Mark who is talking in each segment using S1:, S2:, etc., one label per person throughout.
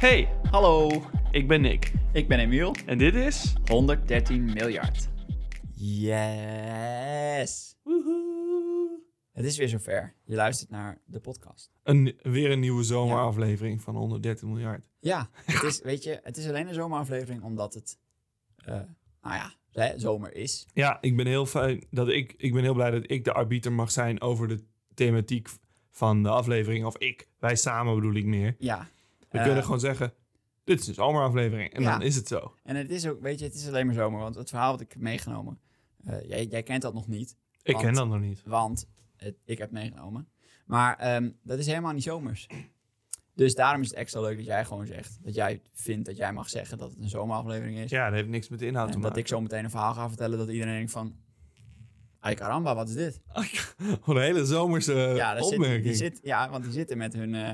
S1: Hey,
S2: Hallo,
S1: ik ben Nick
S2: ik ben Emiel.
S1: en dit is
S2: 113 miljard.
S3: Yes! Het is weer zover. Je luistert naar de podcast.
S4: Een, weer een nieuwe zomeraflevering van 113 miljard.
S3: Ja, het is, weet je, het is alleen een zomeraflevering omdat het, eh, nou ja, hè, zomer is.
S4: Ja, ik ben heel, fijn dat ik, ik ben heel blij dat ik de arbiter mag zijn over de thematiek van de aflevering. Of ik, wij samen bedoel ik meer.
S3: Ja.
S4: We
S3: Eh,
S4: kunnen gewoon zeggen, dit is een zomeraflevering. En
S3: ja.
S4: dan is het zo.
S3: En het is ook, weet je, het is alleen maar zomer, want het verhaal wat ik heb meegenomen, eh, jij, jij kent dat nog niet,
S4: Ik
S3: Want-
S4: ken dat nog niet.
S3: want het, ik heb het meegenomen. Maar ehm, dat is helemaal niet zomers. Dus daarom is het extra leuk dat jij gewoon zegt, dat jij vindt dat jij mag zeggen dat het een zomeraflevering is.
S4: Ja, dat heeft niks met de inhoud te
S3: En dat
S4: maken.
S3: ik zo meteen een verhaal ga vertellen dat iedereen denkt van... Ay caramba, wat is dit?
S4: Wat Een hele zomerse ja,
S3: ja, daar zit,
S4: Eh, opmerking.
S3: die zit, ja, want die zitten met hun eh,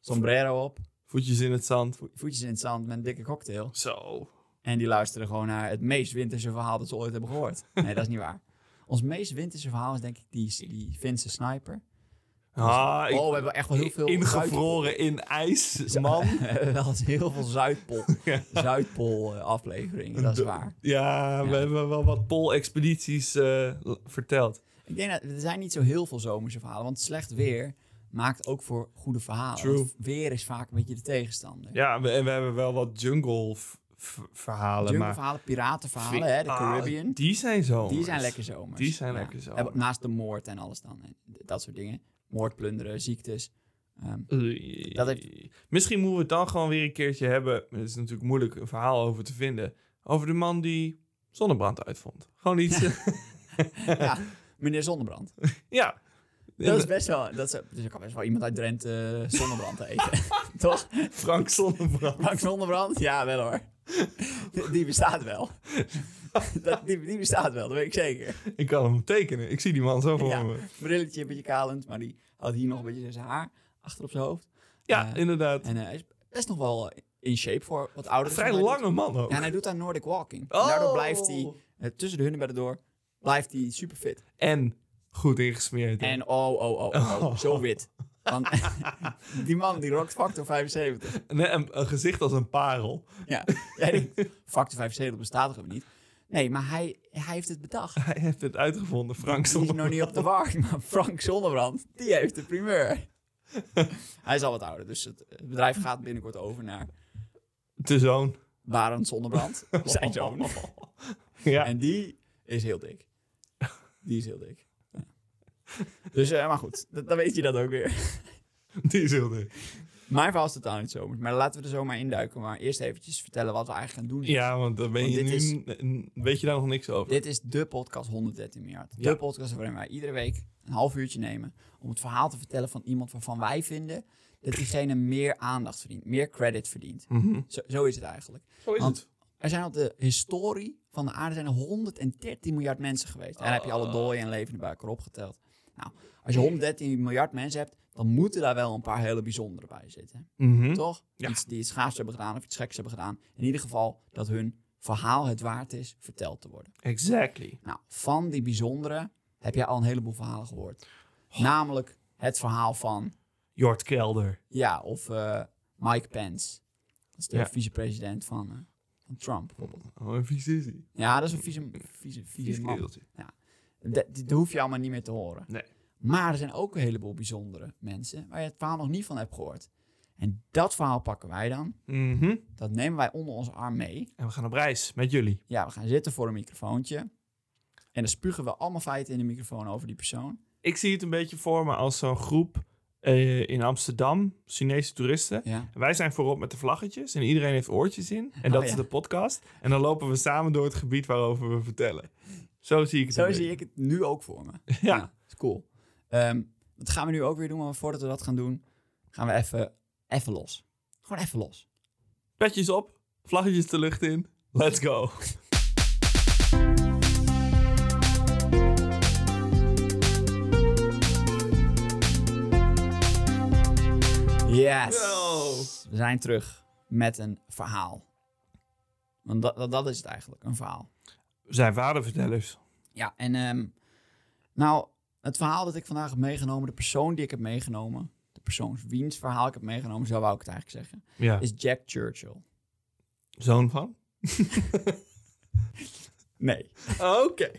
S3: sombrero op,
S4: Voetjes in het zand.
S3: voetjes in het zand met een dikke cocktail.
S4: Zo.
S3: En die luisteren gewoon naar het meest winterse verhaal dat ze ooit hebben gehoord. Nee, dat is niet waar. Ons meest winterse verhaal is denk ik die, die Finse sniper.
S4: Ah, ik-
S3: oh, we hebben echt wel heel veel...
S4: ingevroren in ijs,
S3: Zuid-
S4: man.
S3: wel eens heel veel Zuidpool, Zuidpool eh, afleveringen, dat is waar.
S4: Ja, we
S3: Ja.
S4: hebben wel wat pol-expedities eh, l- verteld.
S3: Ik denk dat er zijn niet zo heel veel zomerse verhalen. Want slecht weer maakt ook voor goede verhalen.
S4: True.
S3: Want weer is vaak een beetje de tegenstander.
S4: Ja, we, en we hebben wel wat jungle-verhalen.
S3: Jungle
S4: maar
S3: verhalen, piratenverhalen, hè, de
S4: Ah,
S3: Caribbean.
S4: die zijn zo.
S3: die zijn lekker zomers.
S4: Die zijn lekker zomers.
S3: En Naast de moord en alles dan. en Dat soort dingen. Moord, plunderen, ziektes. Ehm, Dat heeft-
S4: Misschien moeten we het dan gewoon weer een keertje hebben. maar Het is natuurlijk moeilijk een verhaal over te vinden. Over de man die zonnebrand uitvond. Gewoon iets. eh,
S3: ja, meneer Zonnebrand.
S4: ja.
S3: Dat is best wel... Dat is, dus er kan best wel iemand uit Drenthe eh, Zonnebrand eten. Toch?
S4: Frank Zonnebrand.
S3: Frank Zonnebrand? Ja, wel hoor. Die- Die bestaat wel. Dat, die, die bestaat wel, dat weet ik zeker.
S4: Ik kan hem tekenen. Ik zie die man zo voor
S3: Ja.
S4: me.
S3: brilletje, een beetje kalend, maar die had hier nog een beetje zijn haar achter op zijn hoofd.
S4: Ja,
S3: Eh,
S4: inderdaad.
S3: En eh, hij is best nog wel eh, in shape voor wat ouder.
S4: Vrij lange man ook.
S3: Ja, en hij doet aan Nordic Walking. En
S4: Oh.
S3: Daardoor blijft hij eh, tussen de hunnenbedden door, blijft hij super fit.
S4: En goed ingesmeerd. hè.
S3: En oh, oh, oh, oh, oh, zo wit. Want die man die rockt factor 75.
S4: Nee, een, een gezicht als een parel.
S3: Ja, jij denkt, factor 75 bestaat toch ook niet? Nee, maar hij, hij heeft het bedacht.
S4: Hij heeft het uitgevonden, Frank
S3: Die is nog
S4: Zonnebrand.
S3: niet op de wacht, maar Frank Zonnebrand, die heeft de primeur. Hij is al wat ouder, dus het het bedrijf gaat binnenkort over naar
S4: De zoon.
S3: Barend Zonnebrand, zijn zoon.
S4: Ja.
S3: En die is heel dik. Die is heel dik. Ja. Dus, eh, maar goed, dat- dan weet je dat ook weer.
S4: Die is heel dik.
S3: Mijn verhaal is totaal niet zomers, maar laten we er zomaar induiken. Maar eerst eventjes vertellen wat we eigenlijk gaan doen.
S4: Ja, want dan ben
S3: Want
S4: je
S3: dit
S4: nu,
S3: is-
S4: n- n- weet je daar nog niks over.
S3: Dit is de podcast 113 miljard. De
S4: Ja.
S3: podcast waarin wij iedere week een half uurtje nemen om het verhaal te vertellen van iemand waarvan wij vinden dat diegene meer aandacht verdient, meer credit verdient.
S4: Mhm.
S3: Zo, zo is het eigenlijk.
S4: Zo is
S3: Want er zijn op de historie van de aarde zijn er 113 miljard mensen geweest. En dan heb je
S4: Oh.
S3: alle dooien en levende bij elkaar opgeteld. Nou, als je 113 miljard mensen hebt, dan moeten daar wel een paar hele bijzondere bij zitten.
S4: Mhm.
S3: Toch?
S4: Ja.
S3: Iets die iets gaafs hebben gedaan of iets geks hebben gedaan. In ieder geval dat hun verhaal het waard is verteld te worden.
S4: Exactly.
S3: Nou, van die bijzondere heb jij al een heleboel verhalen gehoord. Namelijk het verhaal van,
S4: Jort Kelder.
S3: ja, of eh, Mike Pence. Dat is de
S4: Ja.
S3: vicepresident van, eh, van Trump bijvoorbeeld.
S4: Oh, een vies is hij.
S3: Ja, dat is een vieze, vieze,
S4: Vies
S3: vieze man.
S4: kereltje.
S3: Dat, dat hoef je allemaal niet meer te horen.
S4: Nee.
S3: Maar er zijn ook een heleboel bijzondere mensen waar je het verhaal nog niet van hebt gehoord. En dat verhaal pakken wij dan.
S4: Mhm.
S3: Dat nemen wij onder onze arm mee.
S4: En we gaan op reis met jullie.
S3: Ja, we gaan zitten voor een microfoontje. En dan spugen we allemaal feiten in de microfoon over die persoon.
S4: Ik zie het een beetje voor me als zo'n groep eh, in Amsterdam, Chinese toeristen.
S3: Ja.
S4: Wij zijn voorop met de vlaggetjes en iedereen heeft oortjes in. En
S3: Oh,
S4: dat
S3: ja.
S4: is de podcast. En dan lopen we samen door het gebied waarover we vertellen. Zo zie ik het.
S3: Zo
S4: een
S3: zie
S4: beetje.
S3: ik het nu ook voor me.
S4: Ja.
S3: Ah, is cool. Ehm, dat gaan we nu ook weer doen, maar voordat we dat gaan doen, gaan we even, even los. Gewoon even los.
S4: Petjes op, vlaggetjes de lucht in. Let's go.
S3: Yes!
S4: Yo.
S3: We zijn terug met een verhaal. Want dat, dat, dat is het eigenlijk, een verhaal.
S4: Zijn vadervertellers.
S3: Ja, en ehm, nou, het verhaal dat ik vandaag heb meegenomen, de persoon die ik heb meegenomen, de persoons wiens verhaal ik heb meegenomen, zo wou ik het eigenlijk zeggen,
S4: Ja.
S3: is Jack Churchill.
S4: Zoon van?
S3: Nee,
S4: Oké.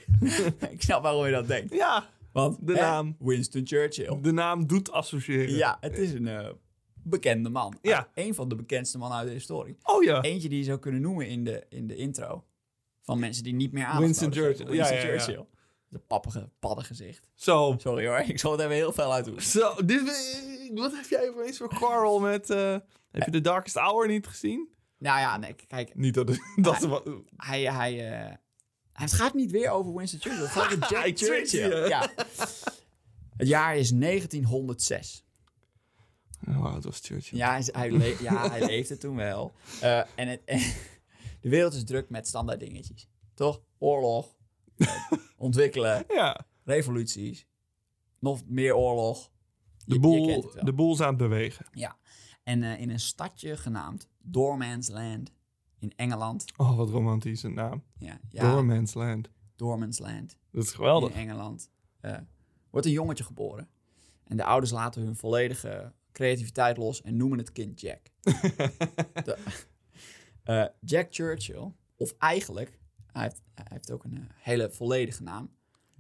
S3: ik snap waarom je dat denkt.
S4: Ja,
S3: Want
S4: De
S3: hè,
S4: naam.
S3: Winston Churchill.
S4: de naam doet associëren.
S3: Ja, het is een eh, bekende man.
S4: Ja.
S3: Eén van de bekendste mannen uit de historie.
S4: Oh ja.
S3: Eentje die je zou kunnen noemen in de, in de intro. Van mensen die niet meer aan.
S4: Winston Churchill. Ja,
S3: Winston
S4: ja, ja.
S3: Churchill. De pappige paddengezicht.
S4: Zo.
S3: Sorry hoor, ik zal het even heel fel uitdoen.
S4: Zo, dit, wat heb jij voor eens voor quarrel met... eh, heb je The Darkest Hour niet gezien?
S3: Nou ja, nee, kijk.
S4: Niet dat... dat is wat-
S3: Hij, hij, eh, het gaat niet weer over Winston Churchill. Het gaat over
S4: Ik
S3: Jack
S4: tricked je.
S3: Churchill. Ja. Het jaar is 1906.
S4: Oh, wow, het was Churchill.
S3: Ja, hij, is- hij le- ja, hij leefde toen wel. Eh, en, het, en de wereld is druk met standaard dingetjes. Toch? Oorlog. eh, ontwikkelen.
S4: Ja,
S3: revoluties, nog meer oorlog. Je-
S4: de,
S3: je
S4: boel,
S3: kent het wel.
S4: de boel is aan het bewegen.
S3: Ja. En eh, in een stadje genaamd Doorman's Land in Engeland.
S4: Oh, wat romantische naam.
S3: Ja, ja
S4: Doorman's Land.
S3: Doorman's Land
S4: Dat is
S3: in
S4: geweldig.
S3: Engeland. eh, wordt een jongetje geboren. En de ouders laten hun volledige creativiteit los en noemen het kind Jack. De- eh, Jack Churchill, of eigenlijk, hij heeft, hij heeft ook een eh, hele volledige naam.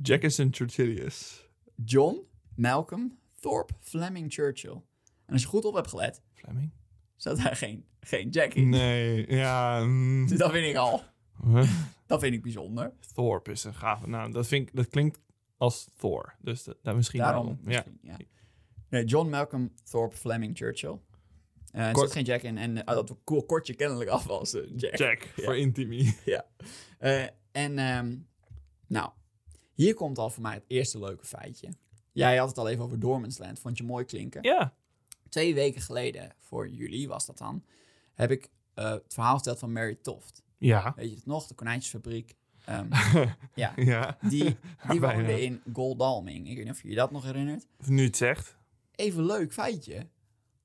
S4: Jefferson Churchillius.
S3: John Malcolm Thorpe Fleming Churchill. En als je goed op hebt gelet,
S4: Fleming?
S3: zat daar geen, geen Jack in.
S4: Nee, ja... mm.
S3: Dus dat vind ik al.
S4: Huh?
S3: Dat vind ik bijzonder.
S4: Thorpe is een gave naam. Dat, vind ik, dat klinkt als Thor. Dus dat, dat misschien
S3: Daarom.
S4: daarom. Ja.
S3: misschien, Ja. Nee, John Malcolm Thorpe Fleming Churchill. Eh er
S4: Kort-
S3: zat geen Jack in. En eh, dat ko- kortje kennelijk af was eh, Jack.
S4: Jack, voor Intimi.
S3: Ja. Eh, en ehm, nou, hier komt al voor mij het eerste leuke feitje. Jij had het al even over Dormans Land. Vond je mooi klinken?
S4: Ja.
S3: Twee weken geleden, voor jullie was dat dan, heb ik eh, het verhaal verteld van Mary Toft.
S4: Ja.
S3: Weet je het nog? De konijntjesfabriek. Ehm, ja.
S4: ja.
S3: Die, die
S4: Bijna.
S3: woonde in Goldalming. Ik weet niet of je je dat nog herinnert.
S4: Nu het zegt.
S3: Even leuk feitje.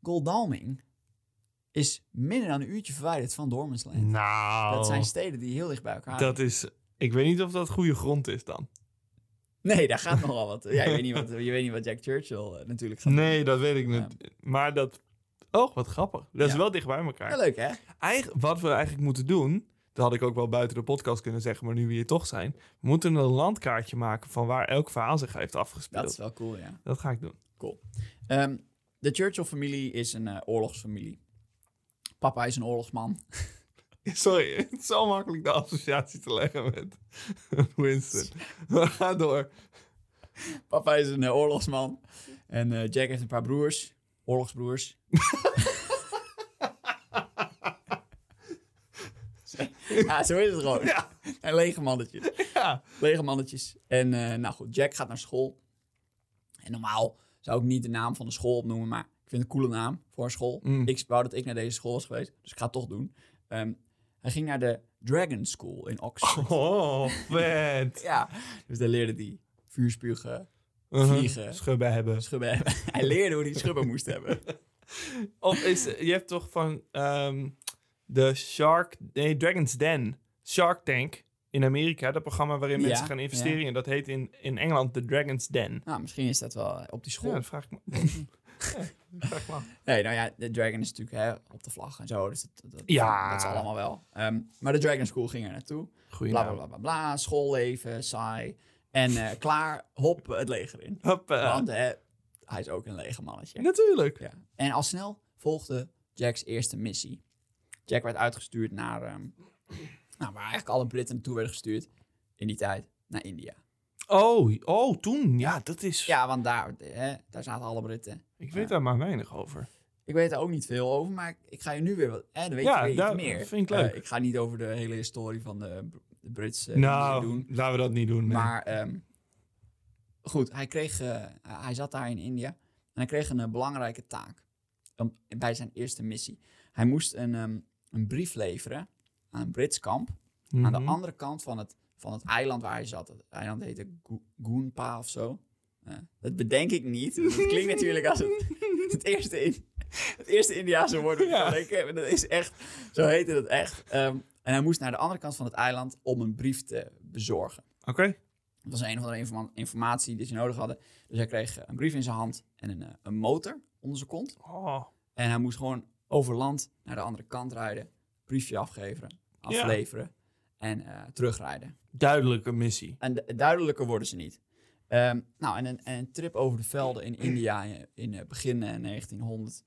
S3: Goldalming is minder dan een uurtje verwijderd van Dormansland.
S4: Nou.
S3: Dat zijn steden die heel dicht bij elkaar
S4: Dat is... Ik weet niet of dat goede grond is dan.
S3: liggen. Nee, daar gaat nogal wat. Ja, je, weet niet wat je weet niet wat Jack Churchill eh, natuurlijk gaat doen.
S4: Nee, dat weet ik niet. Maar dat... Oh, wat grappig. Dat is
S3: Ja.
S4: wel dicht bij elkaar.
S3: Ja, leuk hè?
S4: Eigen- wat we eigenlijk moeten doen... Dat had ik ook wel buiten de podcast kunnen zeggen, maar nu we hier toch zijn. We moeten een landkaartje maken van waar elk verhaal zich heeft afgespeeld.
S3: Dat
S4: Dat,
S3: is wel cool, ja.
S4: ga ik doen.
S3: Cool. Ehm, de Churchill-familie is een eh, oorlogsfamilie. Papa is een oorlogsman.
S4: Sorry, het is zo makkelijk de associatie te leggen met Winston. Maar ga door.
S3: Papa is een eh, oorlogsman. En eh, Jack heeft een paar broers. Oorlogsbroers. ja, zo is het gewoon.
S4: Ja.
S3: En lege mannetjes.
S4: Ja.
S3: Lege mannetjes. En eh, nou goed, Jack gaat naar school. En normaal zou ik niet de naam van de school opnoemen, maar ik vind het een coole naam voor een school.
S4: Mm.
S3: Ik wou dat ik naar deze school was geweest, dus ik ga het toch doen. Ehm, hij ging naar de Dragon School in Oxford.
S4: Oh, vet.
S3: Ja, dus daar leerde hij vuurspugen, Vliegen.
S4: Mhm. Schubben hebben.
S3: schubben hebben. hij leerde hoe hij schubben moest hebben.
S4: Of is, je hebt toch van ehm, de Shark, nee, Dragon's Den, Shark Tank in Amerika, dat programma waarin
S3: Ja,
S4: mensen gaan investeren. En dat heet in, in Engeland de Dragon's Den.
S3: Nou, misschien is dat wel eh, op die school.
S4: Ja, dat vraag ik me. Ja, dat vraag ik me af.
S3: Nee, nou ja, de Dragon is natuurlijk hè, op de vlag en zo. Dus dat, dat,
S4: Ja.
S3: dat is allemaal wel. Ehm, maar de Dragon School ging er naartoe.
S4: Goeie
S3: Bla, bla,
S4: naam.
S3: bla, bla, bla. Schoolleven, saai. En eh, klaar, hop, het leger in.
S4: Hoppa.
S3: Want hè, hij is ook een legermannetje.
S4: Natuurlijk.
S3: Ja. En al snel volgde Jack's eerste missie. Jack werd uitgestuurd naar... ehm, nou, waar eigenlijk alle Britten naartoe werden gestuurd in die tijd. Naar India.
S4: Oh, oh, toen. Ja, dat is...
S3: Ja, want daar, hè, daar zaten alle Britten.
S4: Ik weet daar maar weinig over.
S3: Ik weet er ook niet veel over, maar ik, ik ga je nu weer wat. Hè, dan weet
S4: Ja,
S3: je weer
S4: dat
S3: iets meer.
S4: vind ik leuk.
S3: Eh, ik ga niet over de hele historie van de, de Britse
S4: nou,
S3: eh, doen.
S4: laten we dat niet doen. nee.
S3: Maar ehm, goed, hij, kreeg, eh, hij zat daar in India en hij kreeg een eh, belangrijke taak om- bij zijn eerste missie. Hij moest een, ehm, een brief leveren aan een Brits kamp aan
S4: Mhm.
S3: de andere kant van het, van het eiland waar hij zat. Het eiland heette Go- Goonpa of zo. Eh, dat bedenk ik niet. want Het klinkt natuurlijk als het, het, eerste, in, het eerste Indiaanse woord. dat ik
S4: Ja.
S3: kan denken. Maar Dat is echt, zo heette dat echt. Ehm, en hij moest naar de andere kant van het eiland om een brief te bezorgen.
S4: Oké.
S3: Dat was een of andere informa- informatie die ze nodig hadden. Dus hij kreeg eh, een brief in zijn hand en een, eh, een motor. onder zijn kont.
S4: Oh,
S3: En hij moest gewoon over land naar de andere kant rijden. Briefje afgeven, afleveren en eh, terugrijden.
S4: duidelijke missie.
S3: En du- duidelijker worden ze niet. Ehm, nou, en een, en een trip over de velden in India in, in eh, begin eh, 1900.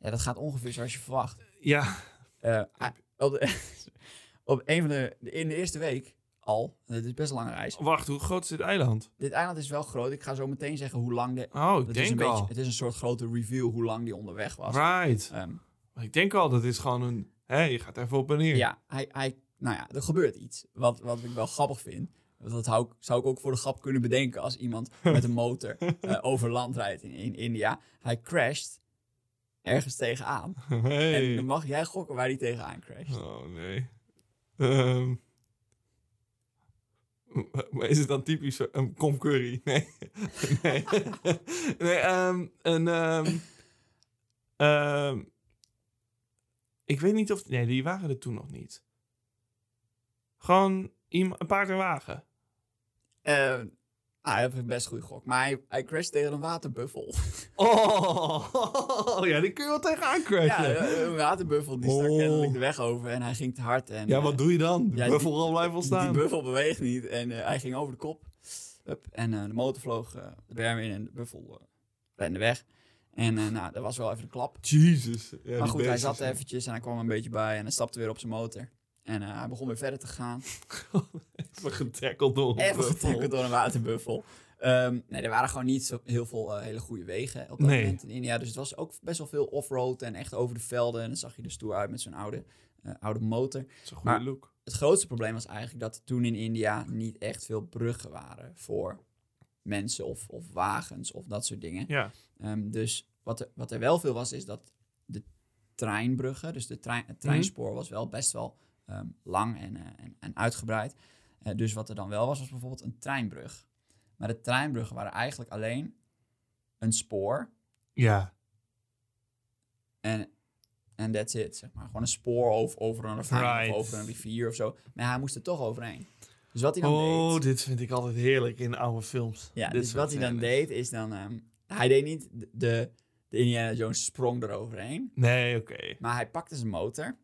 S3: Ja, dat gaat ongeveer zoals je verwacht.
S4: Ja,
S3: Eh, ah, op, de, op een van de, de- in de eerste week al, dit is best een lange reis.
S4: wacht, hoe groot is dit eiland?
S3: Dit eiland is wel groot. Ik ga zo meteen zeggen hoe lang de.
S4: Oh, ik
S3: Het is, een
S4: denk
S3: beetje,
S4: al.
S3: het is een soort grote review hoe lang die onderweg was.
S4: Right.
S3: Ehm,
S4: Maar ik denk al, dat is gewoon een... Hé, je gaat even op en neer.
S3: ja, hij, hij, nou ja, er gebeurt iets. Wat, wat ik wel grappig vind. Want Dat hou, ik- zou ik ook voor de grap kunnen bedenken als iemand met een motor eh, over land rijdt in, in India. Hij crasht ergens tegenaan. En
S4: Hey.
S3: dan mag jij gokken waar hij tegenaan crasht.
S4: Oh, nee. Ehm. maar is het dan typisch een komcurry? Nee. nee. nee ehm, een... ehm, ehm, ik weet niet of... Nee, die waren er toen nog niet. Gewoon iemand, een paard en wagen.
S3: Eh ah, dat vind ik een best goede gok. Maar hij, hij crasht tegen een waterbuffel.
S4: Oh, ja, die kun je wel tegenaan
S3: ja,
S4: crashen. Ja,
S3: eh, een waterbuffel die stak
S4: Oh.
S3: kennelijk de weg over en hij ging te hard. En, eh,
S4: wat doe je dan? De
S3: Ja, die-
S4: buffel al blijven
S3: Die
S4: staan.
S3: buffel beweegt niet en eh, hij ging over de kop. Hup, en eh, de motor vloog eh, de berm in en de buffel eh rende weg. En eh, nou, dat was wel even een klap.
S4: Jesus. Ja, die
S3: maar goed, hij
S4: beestjes,
S3: zat
S4: ja.
S3: eventjes en hij kwam een beetje bij en hij stapte weer op zijn motor. En eh, hij begon weer verder te gaan.
S4: Even getackeld door een
S3: Even
S4: buffel.
S3: getikkeld door een waterbuffel. Ehm, nee, er waren gewoon niet zo heel veel eh, hele goede wegen op dat
S4: Nee.
S3: moment in India. Dus het was ook best wel veel off-road en echt over de velden. En dan zag je er stoer uit met zo'n oude, eh, oude motor.
S4: Dat is een goede
S3: Maar-
S4: look.
S3: het grootste probleem was eigenlijk dat er toen in India niet echt veel bruggen waren voor mensen of, of wagens of dat soort dingen.
S4: Ja.
S3: Ehm, dus wat er, wat er wel veel was, is dat de treinbruggen, dus de trein, het treinspoor was wel best wel ehm, lang en, eh, en, en uitgebreid. Eh, dus wat er dan wel was, was bijvoorbeeld een treinbrug. Maar de treinbruggen waren eigenlijk alleen een spoor
S4: Ja.
S3: en en that's it, zeg maar. Gewoon een spoor over, over een ravijn
S4: Right.
S3: of over een rivier of zo. Maar hij moest er toch overheen. Dus wat hij dan
S4: Oh,
S3: deed...
S4: dit vind ik altijd heerlijk in oude films.
S3: Ja,
S4: Dit
S3: dus
S4: soort
S3: wat hij dan
S4: scènes.
S3: deed is dan... ehm, hij deed niet de, de Indiana Jones sprong eroverheen.
S4: Nee, oké.
S3: Maar hij pakte zijn motor.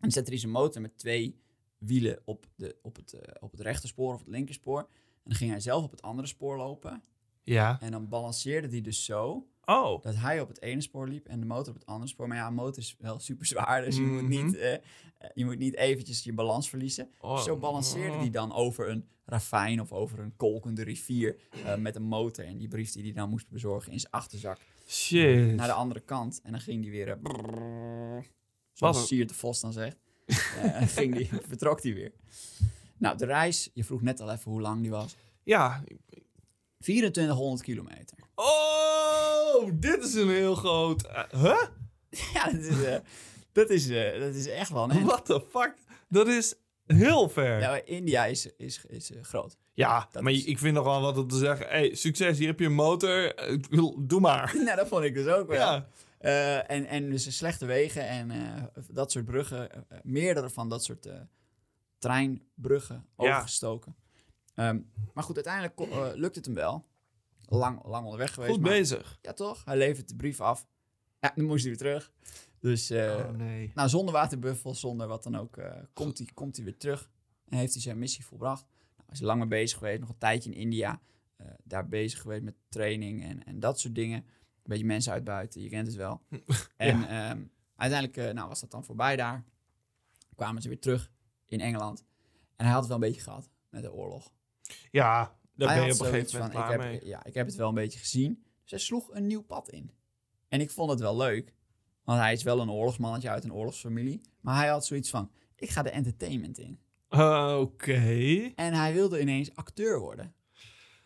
S3: En zette hij zijn motor met twee wielen op, de, op, het, eh, op het rechterspoor of het linkerspoor. En dan ging hij zelf op het andere spoor lopen.
S4: Ja.
S3: En dan balanceerde hij dus zo
S4: Oh.
S3: dat hij op het ene spoor liep en de motor op het andere spoor. Maar ja, een motor is wel super zwaar, dus je, moet
S4: Mhm.
S3: niet, eh, eh, je moet niet eventjes je balans verliezen.
S4: oh.
S3: Zo balanceerde hij dan over een ravijn of over een kolkende rivier eh, met een motor. En die brief die hij dan moest bezorgen in zijn achterzak
S4: Dus- Shit.
S3: naar de andere kant. En dan ging die weer, eh, brrrr,
S4: een-
S3: zoals Siert de Vos dan zegt, Eh, ging die, vertrok die weer. Nou, de reis, je vroeg net al even hoe lang die was.
S4: Ja.
S3: 2400 kilometer.
S4: Oh, dit is een heel groot... eh, huh?
S3: Ja, dat is, eh, dat is, eh, dat is echt wel een eind.
S4: What the fuck? Dat is heel ver.
S3: Ja,
S4: Ja,
S3: maar Nou, India is, is, is eh, groot. dat
S4: maar
S3: is-
S4: ik vind nog wel wat om te zeggen. hey, succes, hier heb je een motor. Eh, ik bedoel, Doe maar.
S3: nou, dat vond ik dus ook wel.
S4: Ja.
S3: Eh, en, en dus slechte wegen en eh, dat soort bruggen. eh, eh, meerdere van dat soort eh, treinbruggen
S4: Ja.
S3: overgestoken. Ehm, maar goed, uiteindelijk ko- eh, lukt het hem wel. Lang, lang onderweg geweest.
S4: Goed
S3: maar-
S4: bezig.
S3: Ja, toch? Hij levert de brief af. Ja, dan moest hij weer terug. Dus eh,
S4: Oh, nee.
S3: nou, zonder waterbuffel, zonder wat dan ook, eh, komt, hij, komt hij weer terug. En heeft hij zijn missie volbracht. Nou, is lang mee bezig geweest, nog een tijdje in India. eh, daar bezig geweest met training en, en dat soort dingen. Een beetje mensen uitbuiten, je kent het wel. En ehm, uiteindelijk eh, nou, was dat dan voorbij daar. Kwamen ze weer terug in Engeland. En hij had het wel een beetje gehad met de oorlog.
S4: Ja, daar
S3: Hij
S4: ben je
S3: had
S4: op een
S3: zoiets
S4: gegeven moment
S3: van,
S4: klaar
S3: ik heb,
S4: mee.
S3: Ja, ik heb het wel een beetje gezien. Dus hij sloeg een nieuw pad in. En ik vond het wel leuk. Want hij is wel een oorlogsmannetje uit een oorlogsfamilie. Maar hij had zoiets van, ik ga de entertainment in.
S4: Eh, Oké.
S3: En hij wilde ineens acteur worden.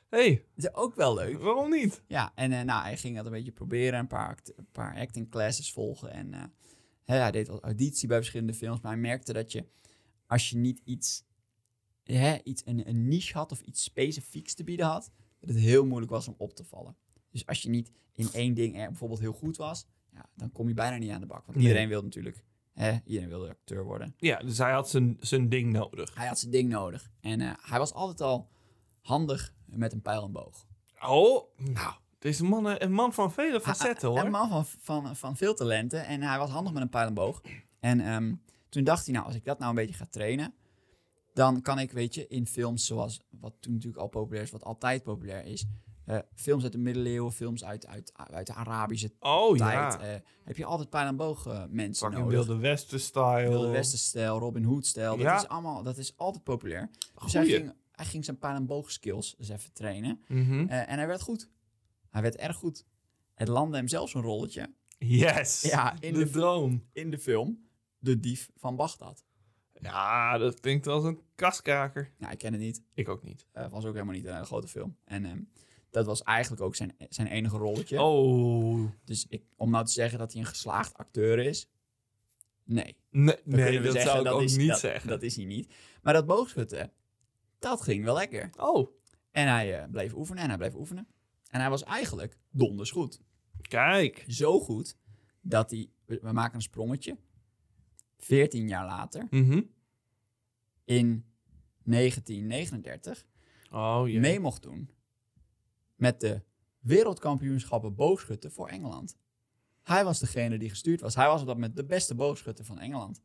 S4: hey,
S3: Dat is ook wel leuk.
S4: waarom niet?
S3: Ja, en eh, nou, hij ging dat een beetje proberen. Een paar, act- een paar acting classes volgen. En eh, hè, hij deed al auditie bij verschillende films. Maar hij merkte dat je, als je niet iets, hè, iets een, een niche had of iets specifieks te bieden had, dat het heel moeilijk was om op te vallen. Dus als je niet in één ding er bijvoorbeeld heel goed was, ja, dan kom je bijna niet aan de bak. Want
S4: Nee.
S3: iedereen wilde natuurlijk, hè, iedereen wilde acteur worden.
S4: Ja, dus hij had zijn, zijn ding nodig.
S3: Hij had zijn ding nodig. En eh, hij was altijd al handig met een pijl en boog.
S4: Oh, nou, Deze man, eh, een man van vele facetten, hoor.
S3: Een man van, van, van veel talenten. En hij was handig met een pijl en boog. En ehm, toen dacht hij, nou, als ik dat nou een beetje ga trainen... dan kan ik, weet je, in films zoals... wat toen natuurlijk al populair is, wat altijd populair is... eh, films uit de middeleeuwen, films uit, uit, uit de Arabische
S4: oh
S3: tijd...
S4: ja,
S3: eh, heb je altijd pijl en boog eh, mensen
S4: fucking
S3: nodig.
S4: wilde westen style.
S3: Wilde Westen-stijl, Robin Hood-stijl.
S4: Ja.
S3: Dat, is allemaal, dat is altijd populair. Dus hij
S4: Goeie.
S3: ging, hij ging zijn pijl en boog skills eens even trainen...
S4: Mhm.
S3: Eh, en hij werd goed. Hij werd erg goed. Het landde hem zelfs een rolletje
S4: Yes,
S3: Ja, in
S4: de,
S3: de-
S4: droom.
S3: in de film De Dief van Bagdad.
S4: Ja, dat klinkt als een kaskraker.
S3: Nou, ik ken het niet.
S4: Ik ook niet.
S3: Eh, was ook helemaal niet een hele grote film. En ehm, dat was eigenlijk ook zijn, zijn enige rolletje.
S4: Oh,
S3: Dus ik, om nou te zeggen dat hij een geslaagd acteur is. Nee.
S4: nee,
S3: Dan kunnen
S4: nee
S3: we
S4: dat
S3: zeggen,
S4: zou ik ook
S3: is-
S4: niet
S3: dat-
S4: zeggen.
S3: Dat is hij niet. Maar dat boogschutten, dat ging wel lekker.
S4: oh,
S3: En hij eh, bleef oefenen en hij bleef oefenen. En hij was eigenlijk donders goed.
S4: kijk.
S3: zo goed dat hij, we we maken een sprongetje, 14 jaar later,
S4: Mhm.
S3: in 1939,
S4: Oh jee.
S3: mee mocht doen met de wereldkampioenschappen boogschutten voor Engeland. Hij was degene die gestuurd was. Hij was op dat moment de beste boogschutter van Engeland.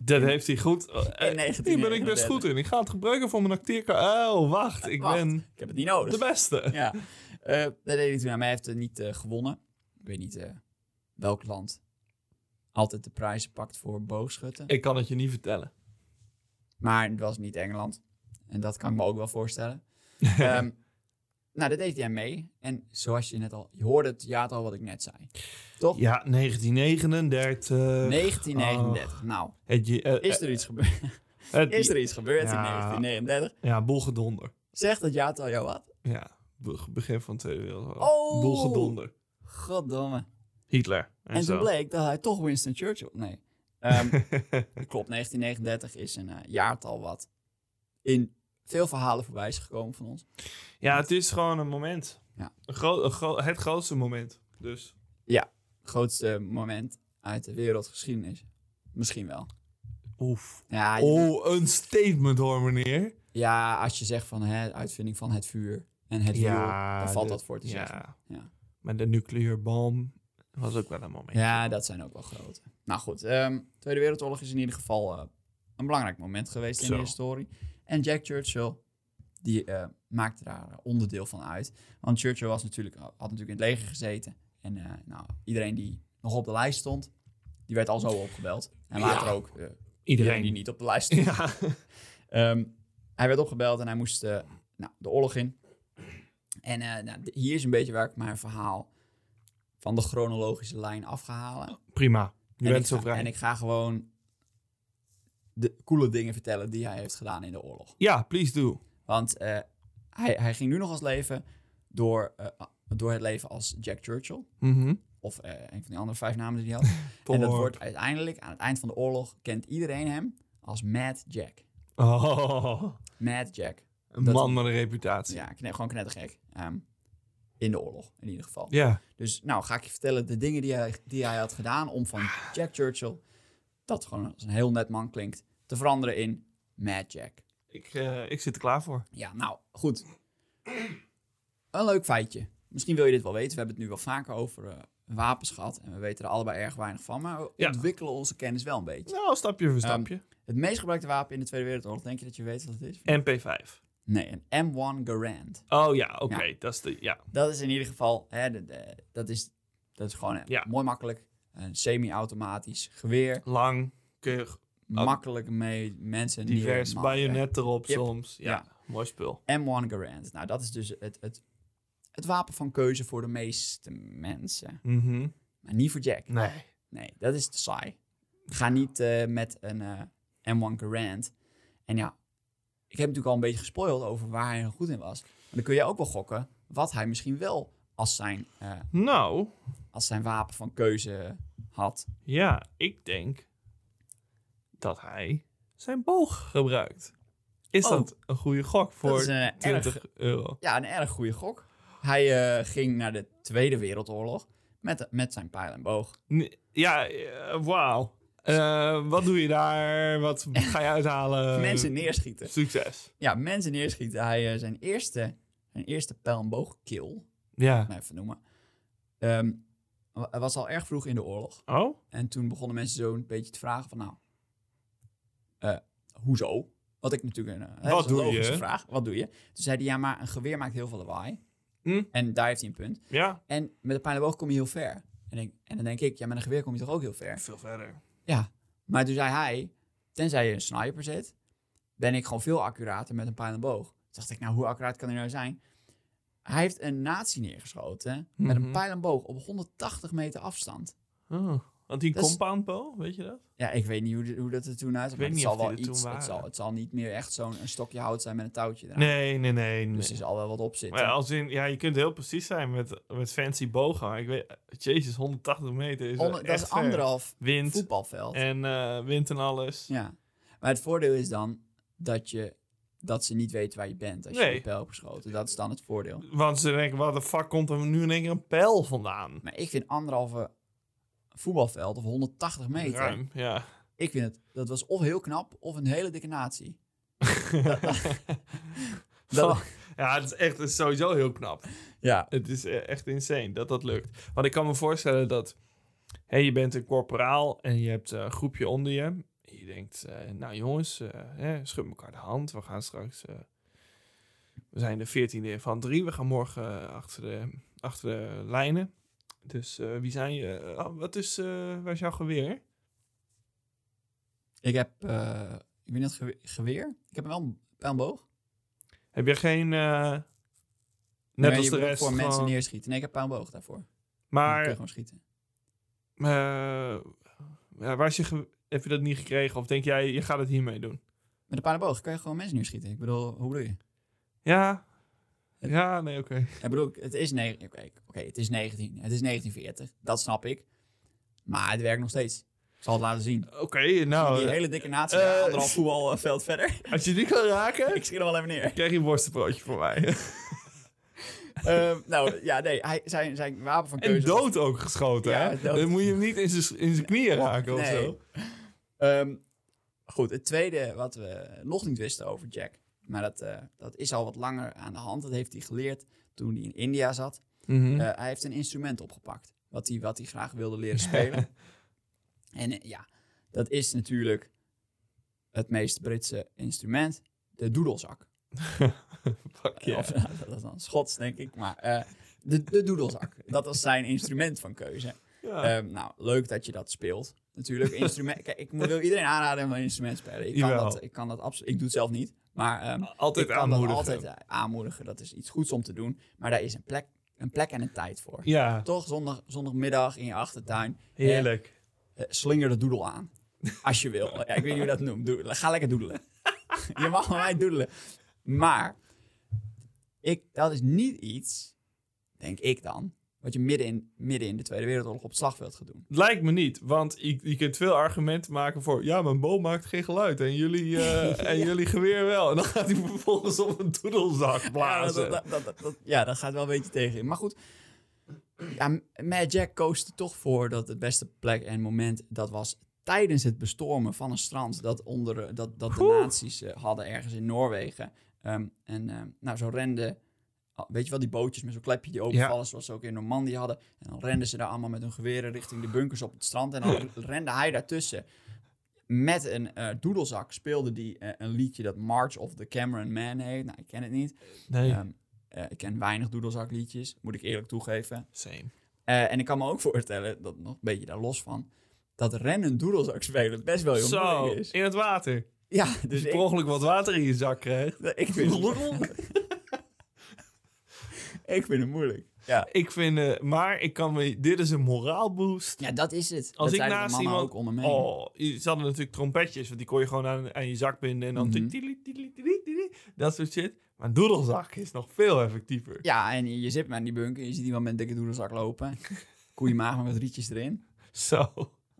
S4: Dat heeft hij goed. Eh, Hier ben ik
S3: 1939.
S4: best goed in. Ik ga het gebruiken voor mijn acteerkaart. Oh, wacht. Ik
S3: Wacht,
S4: ben
S3: Ik heb het niet nodig.
S4: de beste.
S3: ja. Eh dat deed hij toen aan mij. Hij heeft het niet eh, gewonnen. Ik weet niet eh, welk land altijd de prijzen pakt voor boogschutten.
S4: Ik kan het je niet vertellen.
S3: Maar het was niet Engeland. En dat kan ik me ook wel voorstellen. Ehm, nou, dat deed hij aan mee. En zoals je net al... Je hoorde het jaartal wat ik net zei. Toch?
S4: Ja, 1939.
S3: 1939. Nou,
S4: Het, je- oh. eh,
S3: is er iets gebeurd?
S4: eh, het-
S3: Is er iets gebeurd in
S4: Ja.
S3: 1939?
S4: Ja, boelgedonder.
S3: Zegt dat jaartal jou wat?
S4: Ja, be- begin van de Tweede Wereldoorlog.
S3: Oh!
S4: Boelgedonder.
S3: Goddomme.
S4: Hitler. En,
S3: En toen
S4: zo.
S3: bleek dat hij toch Winston Churchill... Nee. Ehm, dat klopt, 1939 is een eh, jaartal wat in veel verhalen voorbij is gekomen van ons.
S4: ja, het is gewoon een moment.
S3: Ja.
S4: Een gro- een gro- het grootste moment. Dus
S3: Grootste moment uit de wereldgeschiedenis. Misschien wel.
S4: oef.
S3: Ja, je-
S4: Oh, een statement hoor, meneer.
S3: Ja, als je zegt van hè, uitvinding van het vuur en het wiel, dan valt
S4: de-
S3: dat voor te zeggen. Ja.
S4: Maar de nucleaire bom was ook wel een moment.
S3: Ja, dat zijn ook wel grote. Nou goed, ehm, Tweede Wereldoorlog is in ieder geval eh, een belangrijk moment geweest in
S4: Zo.
S3: de historie. En Jack Churchill, die eh, maakte daar eh, onderdeel van uit. Want Churchill was natuurlijk, had natuurlijk in het leger gezeten. En eh, nou, iedereen die nog op de lijst stond, die werd al zo opgebeld. En
S4: Ja.
S3: later ook eh, iedereen.
S4: Iedereen.
S3: die niet op de lijst stond.
S4: Ja.
S3: Ehm, hij werd opgebeld en hij moest eh, nou, de oorlog in. En eh, nou, d- hier is een beetje waar ik mijn verhaal van de chronologische lijn af ga halen.
S4: Prima. Je
S3: en, ik
S4: bent zo
S3: ga,
S4: vrij.
S3: en ik ga gewoon de coole dingen vertellen die hij heeft gedaan in de oorlog.
S4: Ja, please do.
S3: Want eh, hij, hij ging nu nog als leven door, eh, door het leven als Jack Churchill.
S4: Mhm.
S3: Of eh, een van die andere vijf namen die hij had. en dat
S4: Poor.
S3: wordt uiteindelijk, aan het eind van de oorlog, kent iedereen hem als Mad Jack.
S4: Oh,
S3: Mad Jack.
S4: een
S3: Dat-
S4: man met een reputatie. Ja.
S3: Ja, kne gewoon knettergek. Ehm, in de oorlog, in ieder geval. Dus nou, ga ik je vertellen de dingen die hij, die hij had gedaan om van Jack Churchill, dat gewoon als een heel net man klinkt, te veranderen in Mad Jack.
S4: Ik, eh, ik zit er klaar voor.
S3: Ja, nou, goed. Een leuk feitje. Misschien wil je dit wel weten. We hebben het nu wel vaker over eh, wapens gehad en we weten er allebei erg weinig van, maar we
S4: Ja.
S3: ontwikkelen onze kennis wel een beetje.
S4: Nou, stapje
S3: Ehm,
S4: voor stapje.
S3: Het meest gebruikte wapen in de Tweede Wereldoorlog, denk je dat je weet wat het is?
S4: MP5.
S3: Nee, een M1 Garand.
S4: Oh ja, oké. Dat is de... Ja.
S3: Dat is in ieder geval, hè, de- de- dat, is, dat is gewoon eh,
S4: Ja.
S3: mooi makkelijk. Een semi-automatisch geweer.
S4: Lang, keurig,
S3: Makkelijk mee mensen. neer-
S4: divers,
S3: man-
S4: bajonet erop
S3: Yep.
S4: soms. Ja,
S3: Ja.
S4: mooi spul.
S3: M1 Garand. Nou, dat is dus het, het, het wapen van keuze voor de meeste mensen.
S4: Mhm.
S3: Maar niet voor Jack.
S4: Nee.
S3: Nee, dat is te saai. Ga niet eh, met een eh, M1 Garand. En ja, ik heb natuurlijk al een beetje gespoild over waar hij goed in was. Maar dan kun je ook wel gokken wat hij misschien wel als zijn, eh,
S4: Nou,
S3: als zijn wapen van keuze had.
S4: ja, ik denk dat hij zijn boog gebruikt. Is
S3: Oh.
S4: dat een goede gok voor
S3: dat is een erg,
S4: 20 euro?
S3: ja, een erg goede gok. Hij eh, ging naar de Tweede Wereldoorlog met, met zijn pijl en boog.
S4: Nee, ja, eh, wauw. Eh, wat doe je daar? Wat ga je uithalen?
S3: mensen neerschieten.
S4: Succes.
S3: Ja, mensen neerschieten. Hij eh, zijn eerste, zijn eerste pijl en boog kill,
S4: Ja.
S3: maar even noemen, Ehm, wa- het was al erg vroeg in de oorlog.
S4: Oh?
S3: En toen begonnen mensen zo een beetje te vragen van, nou, eh, hoezo? Wat ik natuurlijk een, eh, dat is een
S4: doe
S3: logische
S4: je?
S3: vraag. Wat doe je? Toen zei hij, ja, maar een geweer maakt heel veel lawaai.
S4: Hm.
S3: En daar heeft hij een punt.
S4: Ja.
S3: En met een pijlenboog kom je heel ver. En, ik- en dan denk ik, ja, met een geweer kom je toch ook heel ver?
S4: Veel verder.
S3: Ja. Maar toen zei hij, tenzij je een sniper zit, ben ik gewoon veel accurater met een pijlenboog. Toen dacht ik, nou, hoe accuraat kan hij nou zijn? Hij heeft een nazi neergeschoten met een
S4: Mhm.
S3: pijlenboog op 180 meter afstand.
S4: Oh. Want die
S3: Dat is-
S4: compound bow, weet je dat?
S3: Ja, ik weet niet hoe, dit- hoe dat er toen uitzag.
S4: weet
S3: maar het
S4: niet
S3: zal
S4: of die
S3: wel
S4: er toen
S3: iets. Het
S4: waren.
S3: zal, het zal niet meer echt zo'n een stokje hout zijn met een touwtje eraan.
S4: Nee, nee, nee. nee.
S3: Dus er zal wel wat op zitten.
S4: maar als in, ja, je kunt heel precies zijn met, met fancy bogen. maar Ik weet, jezus, 180 meter is wel
S3: Onder- dat
S4: echt
S3: is
S4: ver.
S3: anderhalf
S4: Wind
S3: voetbalveld.
S4: en eh, wind en alles.
S3: Ja. Maar het voordeel is dan dat, je, dat ze niet weten waar je bent als je
S4: Nee.
S3: je pijl hebt geschoten. Dat is dan het voordeel.
S4: Want ze denken, wat de fuck komt er nu in één keer een pijl vandaan?
S3: Maar ik vind anderhalve voetbalveld of 180 meter.
S4: Ruim, ja.
S3: Ik vind het, dat was of heel knap of een hele dikke natie. Dat- dat- dat-
S4: Ja, het is echt het is sowieso heel knap.
S3: ja.
S4: Het is eh, echt insane dat dat lukt. Want ik kan me voorstellen dat... Hey, je bent een corporaal en je hebt eh, een groepje onder je. En je denkt, eh, nou jongens, eh, hè, schud elkaar de hand. We gaan straks... eh, we zijn de veertiende van drie. We gaan morgen eh, achter, de, achter de lijnen. Dus eh, wie zijn je? Ah, wat is... eh waar is jouw geweer?
S3: Ik heb, eh, ik weet niet, het gewe- geweer. Ik heb wel een pijlboog.
S4: Heb je geen... eh, net
S3: Nee,
S4: als
S3: je
S4: de
S3: moet
S4: rest
S3: voor mensen
S4: gewoon-
S3: neerschieten. Nee, ik heb pijlboog daarvoor. Maar... Kun je
S4: Maar
S3: gewoon schieten.
S4: Eh, ja, waar is je ge- heb je dat niet gekregen? Of denk jij, je gaat het hiermee doen?
S3: Met een paardenboog kan je gewoon mensen neerschieten. Ik bedoel, hoe bedoel je?
S4: Ja. Ja, nee, oké.
S3: Ik bedoel, het is, ne- oké, oké, het is 19. Het is 1940. Dat snap ik. Maar het werkt nog steeds. Ik zal het laten zien.
S4: Oké, nou,
S3: Die hele dikke natie,
S4: eh,
S3: daar, anderhalf voetbalveld verder.
S4: als je die kan raken,
S3: ik schiet hem wel even neer.
S4: krijg je een worstenbroodje voor mij.
S3: Ehm, nou, ja, nee. Hij, zijn, zijn wapen van
S4: en
S3: keuze...
S4: dood ook geschoten,
S3: Ja,
S4: hè?
S3: dood.
S4: Dan moet je hem niet in zijn in zijn knieën raken of
S3: Nee.
S4: zo.
S3: Ehm, goed, het tweede wat we nog niet wisten over Jack... maar dat, eh, dat is al wat langer aan de hand. Dat heeft hij geleerd toen hij in India zat.
S4: Mhm. Hm.
S3: Eh, hij heeft een instrument opgepakt. Wat hij, wat hij graag wilde leren spelen. en eh, ja, dat is natuurlijk het meest Britse instrument. De doedelzak.
S4: Fuck ja.
S3: Of, nou, dat is dan Schots, denk ik. Maar eh, de, de doedelzak. Dat was zijn instrument van keuze.
S4: Ja.
S3: Ehm, nou, leuk dat je dat speelt. Natuurlijk, instrument. Kijk, ik wil iedereen aanraden om een instrument te spelen. Ik kan,
S4: Jawel.
S3: dat, ik kan dat absoluut. Ik doe het zelf niet. Maar ehm,
S4: altijd
S3: ik kan
S4: aanmoedigen.
S3: dat altijd eh, aanmoedigen. Dat is iets goeds om te doen. Maar daar is een plek, een plek en een tijd voor.
S4: ja,
S3: Toch zondag, zondagmiddag in je achtertuin.
S4: heerlijk.
S3: eh, slinger de doedel aan. Als je wil. Ja, ik weet niet hoe je dat noemt. Doe- ga lekker doedelen. je mag van mij doedelen. Maar ik, dat is niet iets, denk ik dan, wat je midden in, midden in de Tweede Wereldoorlog op het slagveld gaat doen.
S4: Lijkt me niet, want je, je kunt veel argumenten maken voor... ja, mijn boom maakt geen geluid en jullie, eh, en jullie geweer wel. En dan gaat hij vervolgens op een doedelzak blazen.
S3: Ja, dat, dat, dat, dat- ja, dat gaat wel een beetje tegen. Maar goed, ja, Mad Jack koos er toch voor dat het beste plek en moment dat was tijdens het bestormen van een strand dat, onder, eh, dat, dat de
S4: Oeh.
S3: nazi's eh, hadden ergens in Noorwegen. Ehm, en ehm, nou, zo renden, ah, weet je wel, die bootjes met zo'n klepje die openvallen, zoals ze ook in Normandië hadden. En dan renden ze daar allemaal met hun geweren richting de bunkers op het strand. En dan rende hij daartussen. Met een eh, doedelzak speelde hij eh, een liedje dat March of the Cameron Man heet. Nou, ik ken het niet.
S4: Nee,
S3: Ehm, eh, ik ken weinig doedelzakliedjes, moet ik eerlijk toegeven.
S4: same.
S3: Eh, en ik kan me ook voorstellen, dat nog een beetje daar los van, dat rennen doedelzak spelen best wel heel
S4: Zo,
S3: moeilijk is.
S4: in het water.
S3: Ja, dus
S4: Dus je
S3: ik,
S4: per ongeluk wat water in je zak krijgt.
S3: ik, vind het, ik vind het moeilijk. Ja,
S4: ik vind, eh, maar ik kan me, dit is een moraalboost.
S3: ja dat is het.
S4: Als
S3: dat
S4: ik
S3: zeiden de
S4: naast
S3: mannen
S4: iemand-
S3: ook onder me heen.
S4: Oh, je- ze hadden natuurlijk trompetjes, want die kon je gewoon aan, aan je zak binden en dan...
S3: Mhm.
S4: tili- tili- tili- tili, dat soort shit. Maar een doedelzak is nog veel effectiever.
S3: Ja, en je, je zit maar in die bunker, je ziet iemand met een dikke doedelzak lopen. Koeie maag maar met rietjes erin.
S4: Zo.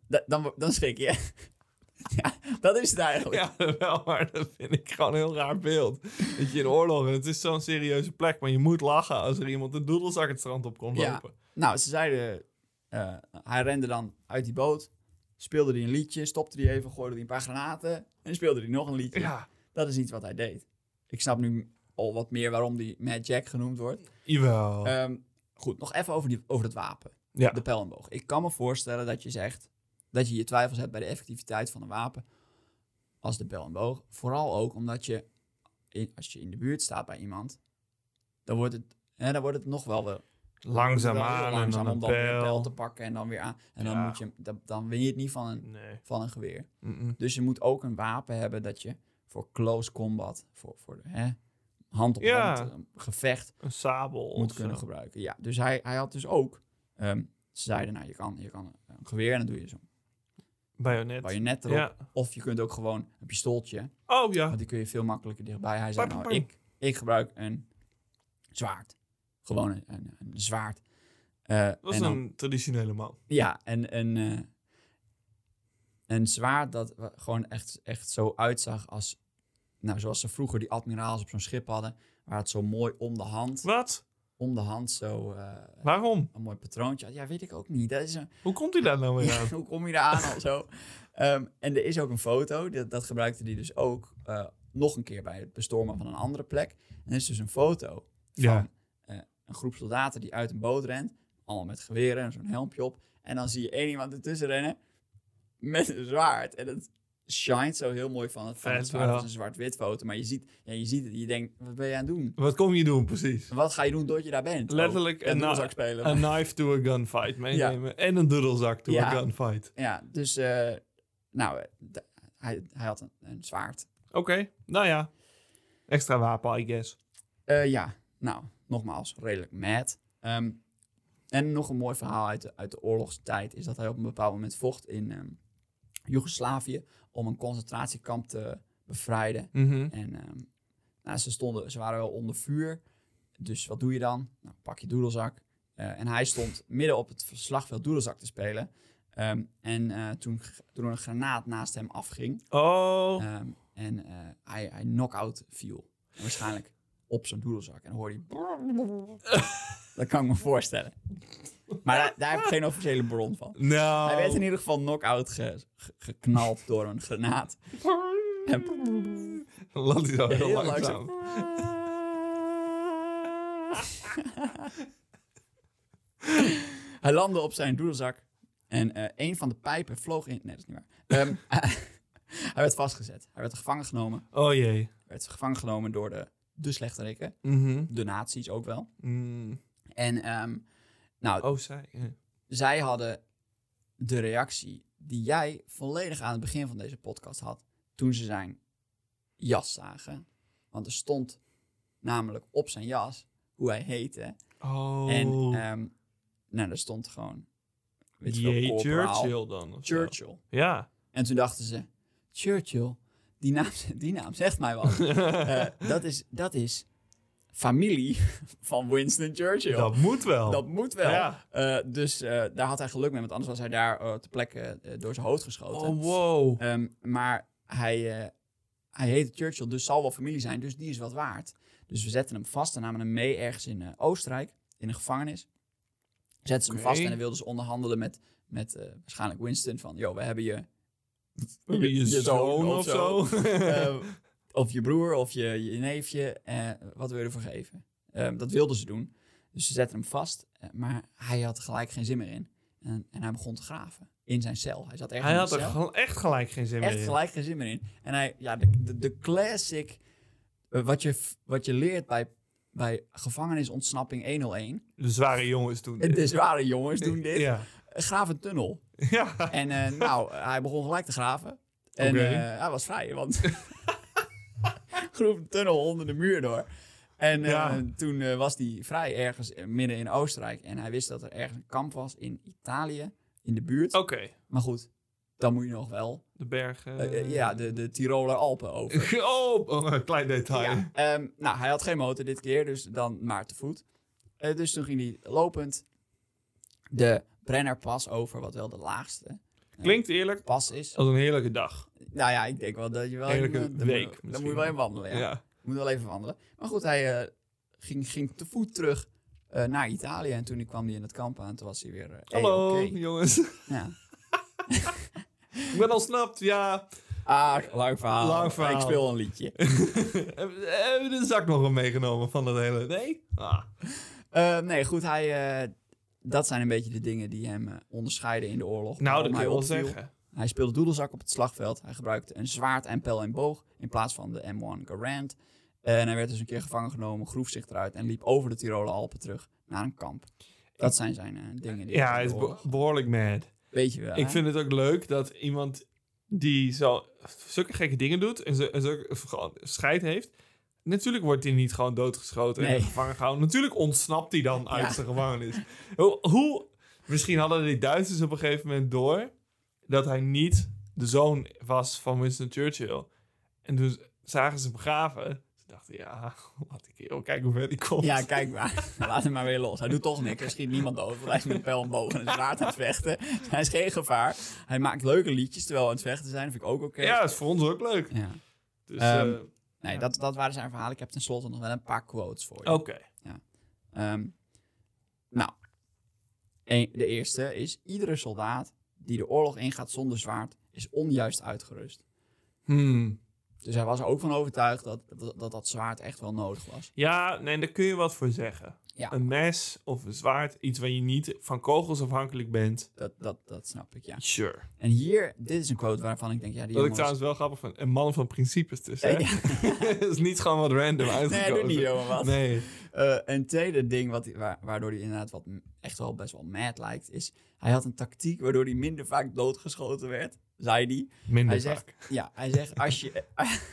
S3: Da- dan, wo- dan schrik je. ja, dat is het eigenlijk.
S4: Ja, wel, maar dat vind ik gewoon een heel raar beeld. Dat je in oorlog, en het is zo'n serieuze plek, maar je moet lachen als er iemand een doedelzak het strand op komt
S3: Ja.
S4: lopen.
S3: Nou, ze zeiden... eh, hij rende dan uit die boot, speelde hij een liedje, stopte die even, gooide die een paar granaten en speelde hij nog een liedje.
S4: Ja,
S3: Dat is iets wat hij deed. Ik snap nu al wat meer waarom die Mad Jack genoemd wordt.
S4: jawel.
S3: Ehm, Goed, nog even over, die, over het wapen.
S4: Ja.
S3: De pijlenboog. Ik kan me voorstellen dat je zegt dat je je twijfels hebt bij de effectiviteit van een wapen als de pijlenboog. Vooral ook omdat je, in, als je in de buurt staat bij iemand, dan wordt het, hè, dan wordt het nog wel wel
S4: Langzaam
S3: wel heel
S4: aan en
S3: langzaam
S4: dan een
S3: om dan weer een pijl te
S4: pijl.
S3: pakken en dan weer aan. En dan,
S4: Ja.
S3: moet je, hem- dan, dan win je het niet van een,
S4: Nee.
S3: van een geweer.
S4: Mm-mm.
S3: Dus je moet ook een wapen hebben dat je voor close combat, voor, voor hè, hand op
S4: Ja.
S3: hand eh, gevecht
S4: Een sabel
S3: moet
S4: of
S3: kunnen
S4: zo.
S3: gebruiken. Ja, dus hij, hij had dus ook, ehm, ze zeiden nou, je kan, je kan een geweer en dan doe je zo'n
S4: Bajonet.
S3: bajonet erop.
S4: Ja.
S3: Of je kunt ook gewoon een pistooltje,
S4: Oh ja.
S3: want die kun je veel makkelijker dichtbij. Hij zei
S4: Bang,
S3: nou,
S4: bang,
S3: ik, ik gebruik een zwaard. Gewoon een, een, een zwaard. Eh,
S4: Dat is
S3: en dan-
S4: een traditionele man.
S3: Ja, en een, eh, een zwaard dat wa- gewoon echt, echt zo uitzag als... Nou, zoals ze vroeger die admiraals op zo'n schip hadden. Waar het zo mooi om de hand,
S4: Wat?
S3: om de hand zo eh,
S4: Waarom?
S3: een mooi patroontje had. Ja, weet ik ook niet. Dat is een,
S4: Hoe komt hij daar nou weer aan?
S3: hoe kom je eraan of zo? Ehm, en er is ook een foto, dat, dat gebruikte die dus ook eh, nog een keer bij het bestormen van een andere plek. En er is dus een foto van
S4: Ja.
S3: eh, een groep soldaten die uit een boot rent. Allemaal met geweren en zo'n helmpje op. En dan zie je één iemand ertussen rennen met een zwaard. En het shines zo heel mooi van het, van het
S4: Vet
S3: zwaard.
S4: wel.
S3: Het is een zwart-wit foto, maar je ziet, ja, je ziet het en je denkt, wat ben je aan het doen?
S4: Wat kom je doen precies?
S3: Wat ga je doen doordat je daar bent?
S4: Letterlijk
S3: en
S4: een,
S3: doelzak
S4: na-
S3: spelen.
S4: een knife to a gunfight meenemen. En een doedelzak to
S3: Ja.
S4: a gunfight.
S3: Ja, dus eh, nou, eh, d- hij, hij had een, een zwaard.
S4: Oké, nou ja. Extra wapen, I guess.
S3: Eh, ja, nou, nogmaals, redelijk mad. Ehm, en nog een mooi verhaal uit de, uit de oorlogstijd is dat hij op een bepaald moment vocht in ehm, Joegoslavië om een concentratiekamp te bevrijden.
S4: Mhm.
S3: En ehm, nou, ze, stonden, ze waren wel onder vuur, dus wat doe je dan? Nou, pak je doedelzak. Eh, en hij stond midden op het slagveld doedelzak te spelen. Ehm, en eh, toen, toen er een granaat naast hem afging,
S4: Oh,
S3: Ehm, en eh, hij, hij knock-out viel. En waarschijnlijk op zijn doedelzak. En dan hoorde hij... dat kan ik me voorstellen. Maar daar, daar heb ik geen officiële bron van.
S4: nou.
S3: Hij werd in ieder geval knock-out ge- ge- geknald door een granaat. En
S4: Land is al
S3: Ja,
S4: heel,
S3: heel
S4: langzaam.
S3: hij landde op zijn doedelzak. En eh een van de pijpen vloog in... Nee, dat is niet waar. Ehm, hij werd vastgezet. Hij werd gevangen genomen.
S4: Oh jee.
S3: werd gevangen genomen door de, de slechterikken.
S4: Mhm.
S3: De nazi's ook wel.
S4: Mm.
S3: En ehm, nou,
S4: Oh, zij. ja.
S3: zij hadden de reactie die jij volledig aan het begin van deze podcast had toen ze zijn jas zagen. Want er stond namelijk op zijn jas hoe hij heette.
S4: Oh.
S3: En ehm, nou, daar stond gewoon weet je wel,
S4: jee,
S3: corporaal
S4: Churchill dan. of zo.
S3: Churchill.
S4: Ja.
S3: En toen dachten ze, Churchill, die naam, die naam zegt mij wat. Eh, dat, is, dat is familie van Winston Churchill.
S4: Dat moet wel.
S3: Dat moet wel.
S4: Ja.
S3: Eh, dus eh, daar had hij geluk mee, want anders was hij daar eh, ter plekke eh, door zijn hoofd geschoten.
S4: Oh, wow.
S3: Ehm, maar hij, eh, hij heette Churchill, dus zal wel familie zijn, dus die is wat waard. Dus we zetten hem vast en namen hem mee ergens in eh, Oostenrijk, in een gevangenis. Zetten ze hem
S4: Oké.
S3: vast en dan wilden ze onderhandelen met, met eh, waarschijnlijk Winston van, joh, we hebben je...
S4: Je, zoon of zo.
S3: Ehm, of je broer of je, je neefje. eh, wat wil je ervoor geven? Ehm, dat wilden ze doen. Dus ze zetten hem vast. eh, maar hij had er gelijk geen zin meer in. En, en hij begon te graven in zijn cel. Hij zat ergens
S4: Hij
S3: in
S4: had
S3: zijn
S4: er
S3: cel.
S4: gewoon echt gelijk geen zin
S3: echt
S4: meer in.
S3: gelijk geen zin meer in. En hij, ja, de, de, de classic. eh, wat, je, f- wat je leert bij, bij gevangenisontsnapping 101.
S4: De zware jongens toen.
S3: De zware jongens doen dit.
S4: Ja.
S3: Graaf een tunnel.
S4: ja.
S3: En eh, nou, hij begon gelijk te graven. En
S4: Oké.
S3: eh, hij was vrij, want groef een tunnel onder de muur door. En eh,
S4: Ja.
S3: toen eh, was hij vrij ergens eh, midden in Oostenrijk. En hij wist dat er ergens een kamp was in Italië, in de buurt.
S4: Oké.
S3: Maar goed, dan moet je nog wel
S4: De bergen.
S3: eh, eh, ja, de, de Tiroler Alpen over.
S4: Oh, oh, een klein detail.
S3: Ja, ehm, nou, hij had geen motor dit keer, dus dan maar te voet. Eh, dus toen ging hij lopend de Brennerpas over, wat wel de laagste
S4: Klinkt eerlijk
S3: pas is.
S4: als een heerlijke dag.
S3: Nou ja, ik denk wel dat je wel...
S4: Eerlijke
S3: dan moet-
S4: week
S3: Dan
S4: misschien
S3: moet je wel
S4: wel.
S3: even wandelen, ja.
S4: Ja.
S3: Moet wel even wandelen. Maar goed, hij eh, ging, ging te voet terug eh, naar Italië. En toen hij kwam hij in het kamp aan, toen was hij weer... eh, hey,
S4: Hallo,
S3: oké.
S4: jongens.
S3: Ja.
S4: Ik ben al snapt, ja.
S3: Ah, lang verhaal.
S4: Lang verhaal.
S3: Ik speel een liedje.
S4: Hebben we de zak nog wel meegenomen van dat hele... Nee? Ah.
S3: Eh, nee, goed, hij, eh, dat zijn een beetje de dingen die hem eh, onderscheiden in de oorlog.
S4: Nou, dat
S3: Waarom
S4: kan
S3: hij
S4: je wel
S3: opviel.
S4: zeggen.
S3: Hij speelde doedelzak op het slagveld. Hij gebruikte een zwaard en pijl en boog in plaats van de M1 Garand. En hij werd dus een keer gevangen genomen, groef zich eruit en liep over de Tiroler Alpen terug naar een kamp. Dat zijn zijn eh, dingen. Die
S4: Ja,
S3: hij
S4: hij is
S3: in de oorlog-
S4: be- behoorlijk mad.
S3: Weet je wel.
S4: Ik
S3: hè?
S4: vind het ook leuk dat iemand die zo zulke gekke dingen doet en, zo, en zulke gewoon scheid heeft. Natuurlijk wordt hij niet gewoon doodgeschoten en
S3: Nee.
S4: in de gevangen gehouden. Natuurlijk ontsnapt hij dan uit
S3: Ja.
S4: zijn gevangenis. Hoe, hoe- Misschien hadden die Duitsers op een gegeven moment door dat hij niet de zoon was van Winston Churchill. En toen zagen ze hem begraven. Ze dachten, ja, laat ik heel kijken hoe ver die komt.
S3: Ja, kijk maar. Laat hem maar weer los. Hij doet toch niks. Hij schiet niemand dood. want Hij is met een pijl en boog en een zwaard aan het vechten. Hij is geen gevaar. Hij maakt leuke liedjes terwijl we aan het vechten zijn. Dat vind ik ook oké.
S4: ja, dat is voor ons ook leuk.
S3: Ja.
S4: Dus,
S3: Ehm,
S4: eh,
S3: Nee,
S4: Ja.
S3: dat, dat waren zijn verhalen. Ik heb tenslotte nog wel een paar quotes voor je.
S4: eh, Oké.
S3: Ehm, nou, e- de eerste is... Iedere soldaat die de oorlog ingaat zonder zwaard... is onjuist uitgerust.
S4: Hmm.
S3: Dus hij was er ook van overtuigd dat dat, dat, dat zwaard echt wel nodig was.
S4: Ja, nee, daar kun je wat voor zeggen.
S3: Ja.
S4: Een mes of een zwaard, iets waar je niet van kogels afhankelijk bent.
S3: Dat, dat, dat snap ik, ja.
S4: Sure.
S3: En hier, dit is een quote waarvan ik denk... Ja, die
S4: Wat ik
S3: jongens...
S4: trouwens wel grappig vind, een man van principes dus. Hè?
S3: Ja.
S4: dat is niet gewoon wat random
S3: Nee,
S4: uitgekozen.
S3: doe niet zomaar wat.
S4: Nee.
S3: Eh, een tweede ding wat, wa- waardoor hij inderdaad wat, m- echt wel best wel mad lijkt, is hij had een tactiek waardoor hij minder vaak doodgeschoten werd, zei hij.
S4: minder
S3: Hij
S4: vaak.
S3: zegt, ja, hij zegt als je,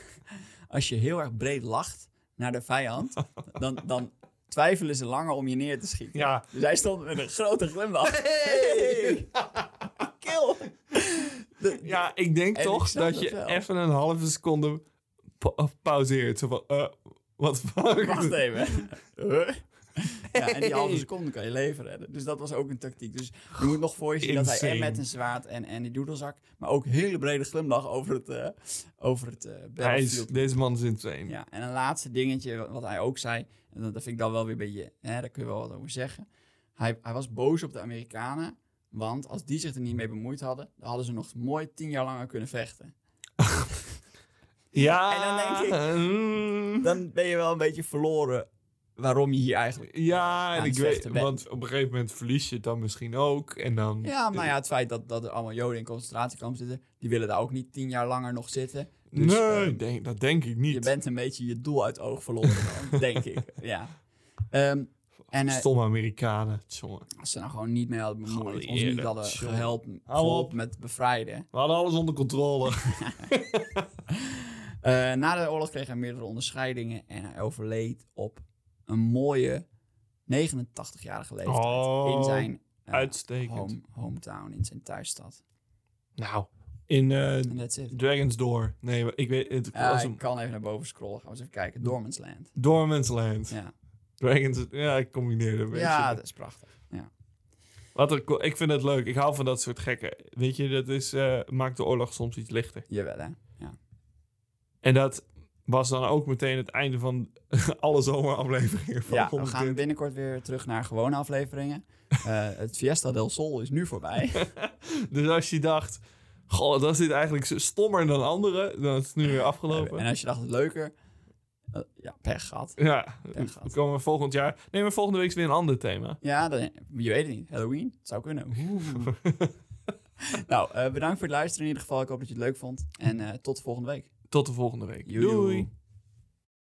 S3: als je heel erg breed lacht naar de vijand, dan, dan twijfelen ze langer om je neer te schieten.
S4: Ja.
S3: Dus hij stond met een grote glimlach. Hey! Kill! De-
S4: ja, ik denk
S3: En ik
S4: toch
S3: snap
S4: dat
S3: dat
S4: je
S3: wel.
S4: even een halve seconde pa- pauzeert. Zo van, eh, wat fuck?
S3: Wacht even. Huh? Ja, en die halve
S4: Hey.
S3: seconde kan je leven redden. Dus dat was ook een tactiek. Dus je moet nog voor je zien dat hij en
S4: Insane.
S3: met een zwaard en, en die doedelzak... maar ook een hele brede glimlach over het, eh over het eh
S4: Hij is-
S3: battlefield.
S4: deze man is insane.
S3: Ja, en een laatste dingetje wat- wat hij ook zei... en dat dat vind ik dan wel weer bij je... Hè, daar kun je wel wat over zeggen. Hij, hij was boos op de Amerikanen... want als die zich er niet mee bemoeid hadden... dan hadden ze nog mooi tien jaar langer kunnen vechten.
S4: Ja.
S3: En dan denk ik-
S4: hmm.
S3: Dan ben je wel een beetje verloren... waarom je hier eigenlijk...
S4: Ja, en
S3: aan
S4: ik
S3: het
S4: weet,
S3: vechten bent.
S4: want op een gegeven moment verlies je het dan misschien ook. En dan...
S3: Ja, maar ja, het feit dat, dat er allemaal joden in concentratiekampen zitten, die willen daar ook niet tien jaar langer nog zitten. Dus,
S4: nee,
S3: eh,
S4: ik denk, dat denk ik niet.
S3: je bent een beetje je doel uit oog verloren, dan, denk ik. Ja. Ehm, en eh,
S4: Stomme Amerikanen, jongen.
S3: als ze nou gewoon niet mee hadden bemoeid, ons niet
S4: Geallieerden,
S3: hadden
S4: jongen.
S3: gehelpen,
S4: Hou op.
S3: geholpen met bevrijden.
S4: We hadden alles onder controle.
S3: Eh, na de oorlog kreeg hij meerdere onderscheidingen en hij overleed op een mooie 89-jarige leeftijd
S4: Oh,
S3: in zijn eh,
S4: Uitstekend.
S3: home, hometown, in zijn thuisstad.
S4: Nou, in eh,
S3: En that's it.
S4: Dragon's Door. Nee, maar ik weet het.
S3: Ja,
S4: was
S3: ik
S4: een
S3: kan even naar boven scrollen. Gaan we eens even kijken. Dormans Land.
S4: Dormant's Land.
S3: Ja.
S4: Dragon's... Ja, ik combineer een beetje.
S3: Ja, dat is prachtig.
S4: Wat een co- ik vind het leuk. Ik hou van dat soort gekken. Weet je, dat is, eh, maakt de oorlog soms iets lichter.
S3: Jawel, hè?
S4: En dat was dan ook meteen het einde van alle zomerafleveringen. Van
S3: Ja, we
S4: Honderd
S3: gaan binnenkort weer terug naar gewone afleveringen. Eh, het Fiesta del Sol is nu voorbij.
S4: Dus als je dacht, goh, dat is dit eigenlijk zo stommer dan anderen, dan is het nu weer afgelopen.
S3: en als je dacht het leuker, eh, ja, pech gehad.
S4: Ja,
S3: Pech gehad.
S4: we komen volgend jaar. Nee, maar volgende week is weer een ander thema.
S3: Ja, dan, je weet het niet. Halloween, het zou kunnen. Oeh. nou, eh, bedankt voor het luisteren in ieder geval. Ik hoop dat je het leuk vond. En eh, tot volgende week.
S4: Tot de volgende week.
S3: Joejoe.
S4: Doei.